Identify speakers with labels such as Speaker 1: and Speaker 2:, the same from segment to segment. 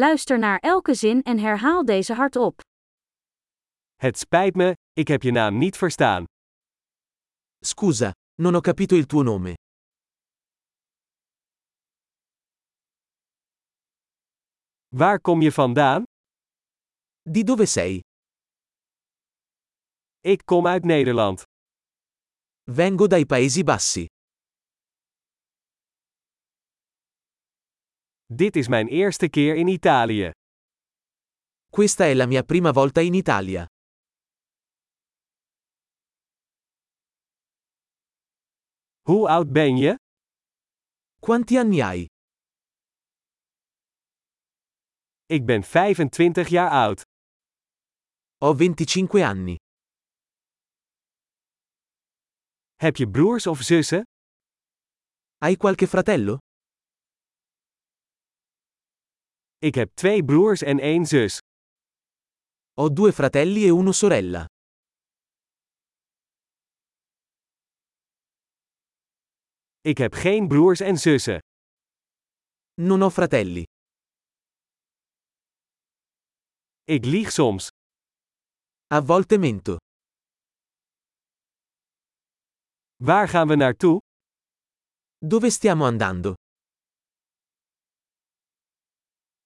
Speaker 1: Luister naar elke zin en herhaal deze hardop.
Speaker 2: Het spijt me, ik heb je naam niet verstaan.
Speaker 3: Scusa, non ho capito il tuo nome.
Speaker 2: Waar kom je vandaan?
Speaker 3: Di dove sei?
Speaker 2: Ik kom uit Nederland.
Speaker 3: Vengo dai Paesi Bassi.
Speaker 2: Dit is mijn eerste keer in Italië.
Speaker 3: Questa è la mia prima volta in Italia.
Speaker 2: Hoe oud ben je?
Speaker 3: Quanti anni hai?
Speaker 2: Ik ben 25 jaar oud.
Speaker 3: Ho 25 anni.
Speaker 2: Heb je broers of zussen?
Speaker 3: Hai qualche fratello?
Speaker 2: Ik heb twee broers en één zus.
Speaker 3: Ho due fratelli e una sorella.
Speaker 2: Ik heb geen broers en zussen.
Speaker 3: Non ho fratelli.
Speaker 2: Ik lieg soms.
Speaker 3: A volte mento.
Speaker 2: Waar gaan we naartoe?
Speaker 3: Dove stiamo andando?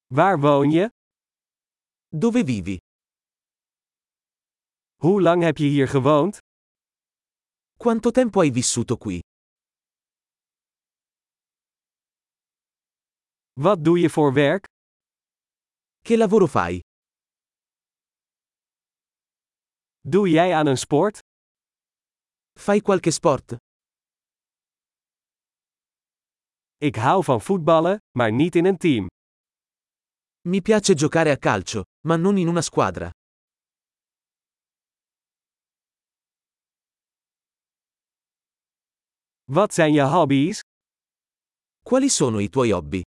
Speaker 2: Waar woon je?
Speaker 3: Dove vivi?
Speaker 2: Hoe lang heb je hier gewoond?
Speaker 3: Quanto tempo hai vissuto qui?
Speaker 2: Wat doe je voor werk?
Speaker 3: Che lavoro fai?
Speaker 2: Doe jij aan een sport?
Speaker 3: Fai qualche sport?
Speaker 2: Ik hou van voetballen, maar niet in een team.
Speaker 3: Mi piace giocare a calcio, ma non in una squadra.
Speaker 2: Wat zijn je hobby's?
Speaker 3: Quali sono i tuoi hobby?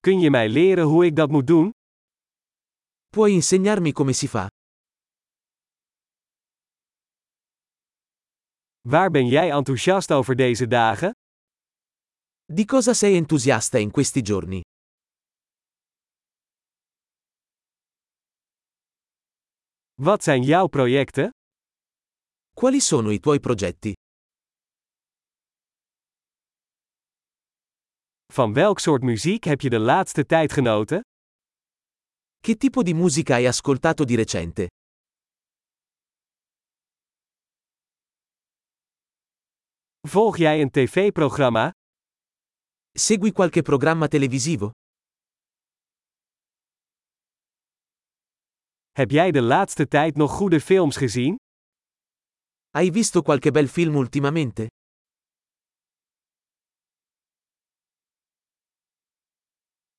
Speaker 2: Kun je mij leren hoe ik dat moet doen?
Speaker 3: Puoi insegnarmi come si fa?
Speaker 2: Waar ben jij enthousiast over deze dagen?
Speaker 3: Di cosa sei entusiasta in questi giorni?
Speaker 2: Wat zijn jouw projecten?
Speaker 3: Quali sono i tuoi progetti?
Speaker 2: Van welk soort muziek heb je de laatste tijd genoten?
Speaker 3: Che tipo di musica hai ascoltato di recente?
Speaker 2: Volg jij een tv-programma?
Speaker 3: Segui qualche programma televisivo?
Speaker 2: Heb jij de laatste tijd nog goede films gezien?
Speaker 3: Hai visto qualche bel film ultimamente?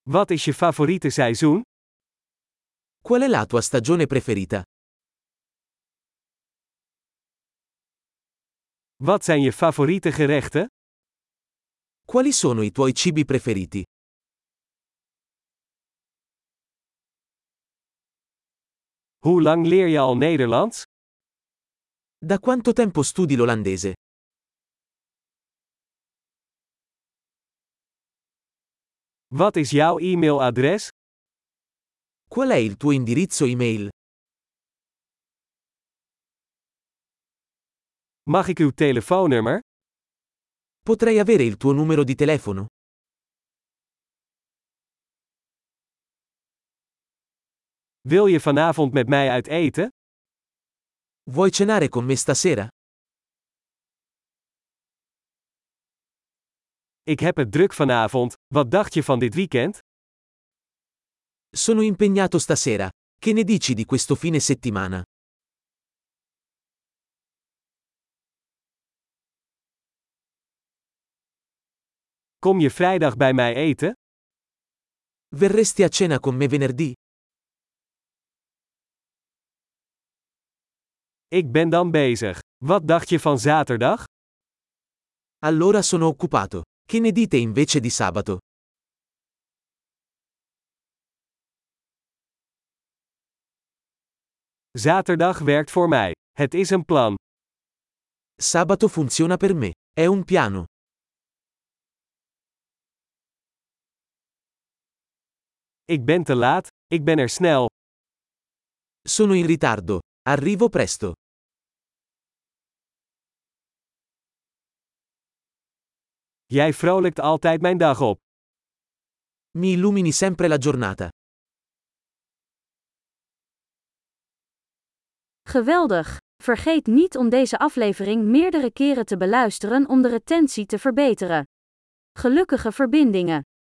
Speaker 2: Wat is je favoriete seizoen?
Speaker 3: Qual è la tua stagione preferita?
Speaker 2: Wat zijn je favoriete gerechten?
Speaker 3: Quali sono i tuoi cibi preferiti?
Speaker 2: Hoe lang leer je al Nederlands?
Speaker 3: Da quanto tempo studi l'olandese?
Speaker 2: Wat is jouw e-mailadres?
Speaker 3: Qual è il tuo indirizzo email?
Speaker 2: Mag ik uw telefoonnummer?
Speaker 3: Potrei avere il tuo numero di telefono?
Speaker 2: Wil je vanavond met mij uit eten?
Speaker 3: Vuoi cenare con me stasera?
Speaker 2: Ik heb het druk vanavond. Wat dacht je van dit weekend?
Speaker 3: Sono impegnato stasera. Che ne dici di questo fine settimana?
Speaker 2: Kom je vrijdag bij mij eten?
Speaker 3: Verresti a cena con me venerdì?
Speaker 2: Ik ben dan bezig. Wat dacht je van zaterdag?
Speaker 3: Allora sono occupato. Che ne dite invece di sabato?
Speaker 2: Zaterdag werkt voor mij. Het is een plan.
Speaker 3: Sabato funziona per me. È un piano.
Speaker 2: Ik ben te laat, ik ben er snel.
Speaker 3: Sono in ritardo. Arrivo presto.
Speaker 2: Jij vrolijkt altijd mijn dag op.
Speaker 3: Mi illumini sempre la giornata.
Speaker 1: Geweldig! Vergeet niet om deze aflevering meerdere keren te beluisteren om de retentie te verbeteren. Gelukkige verbindingen!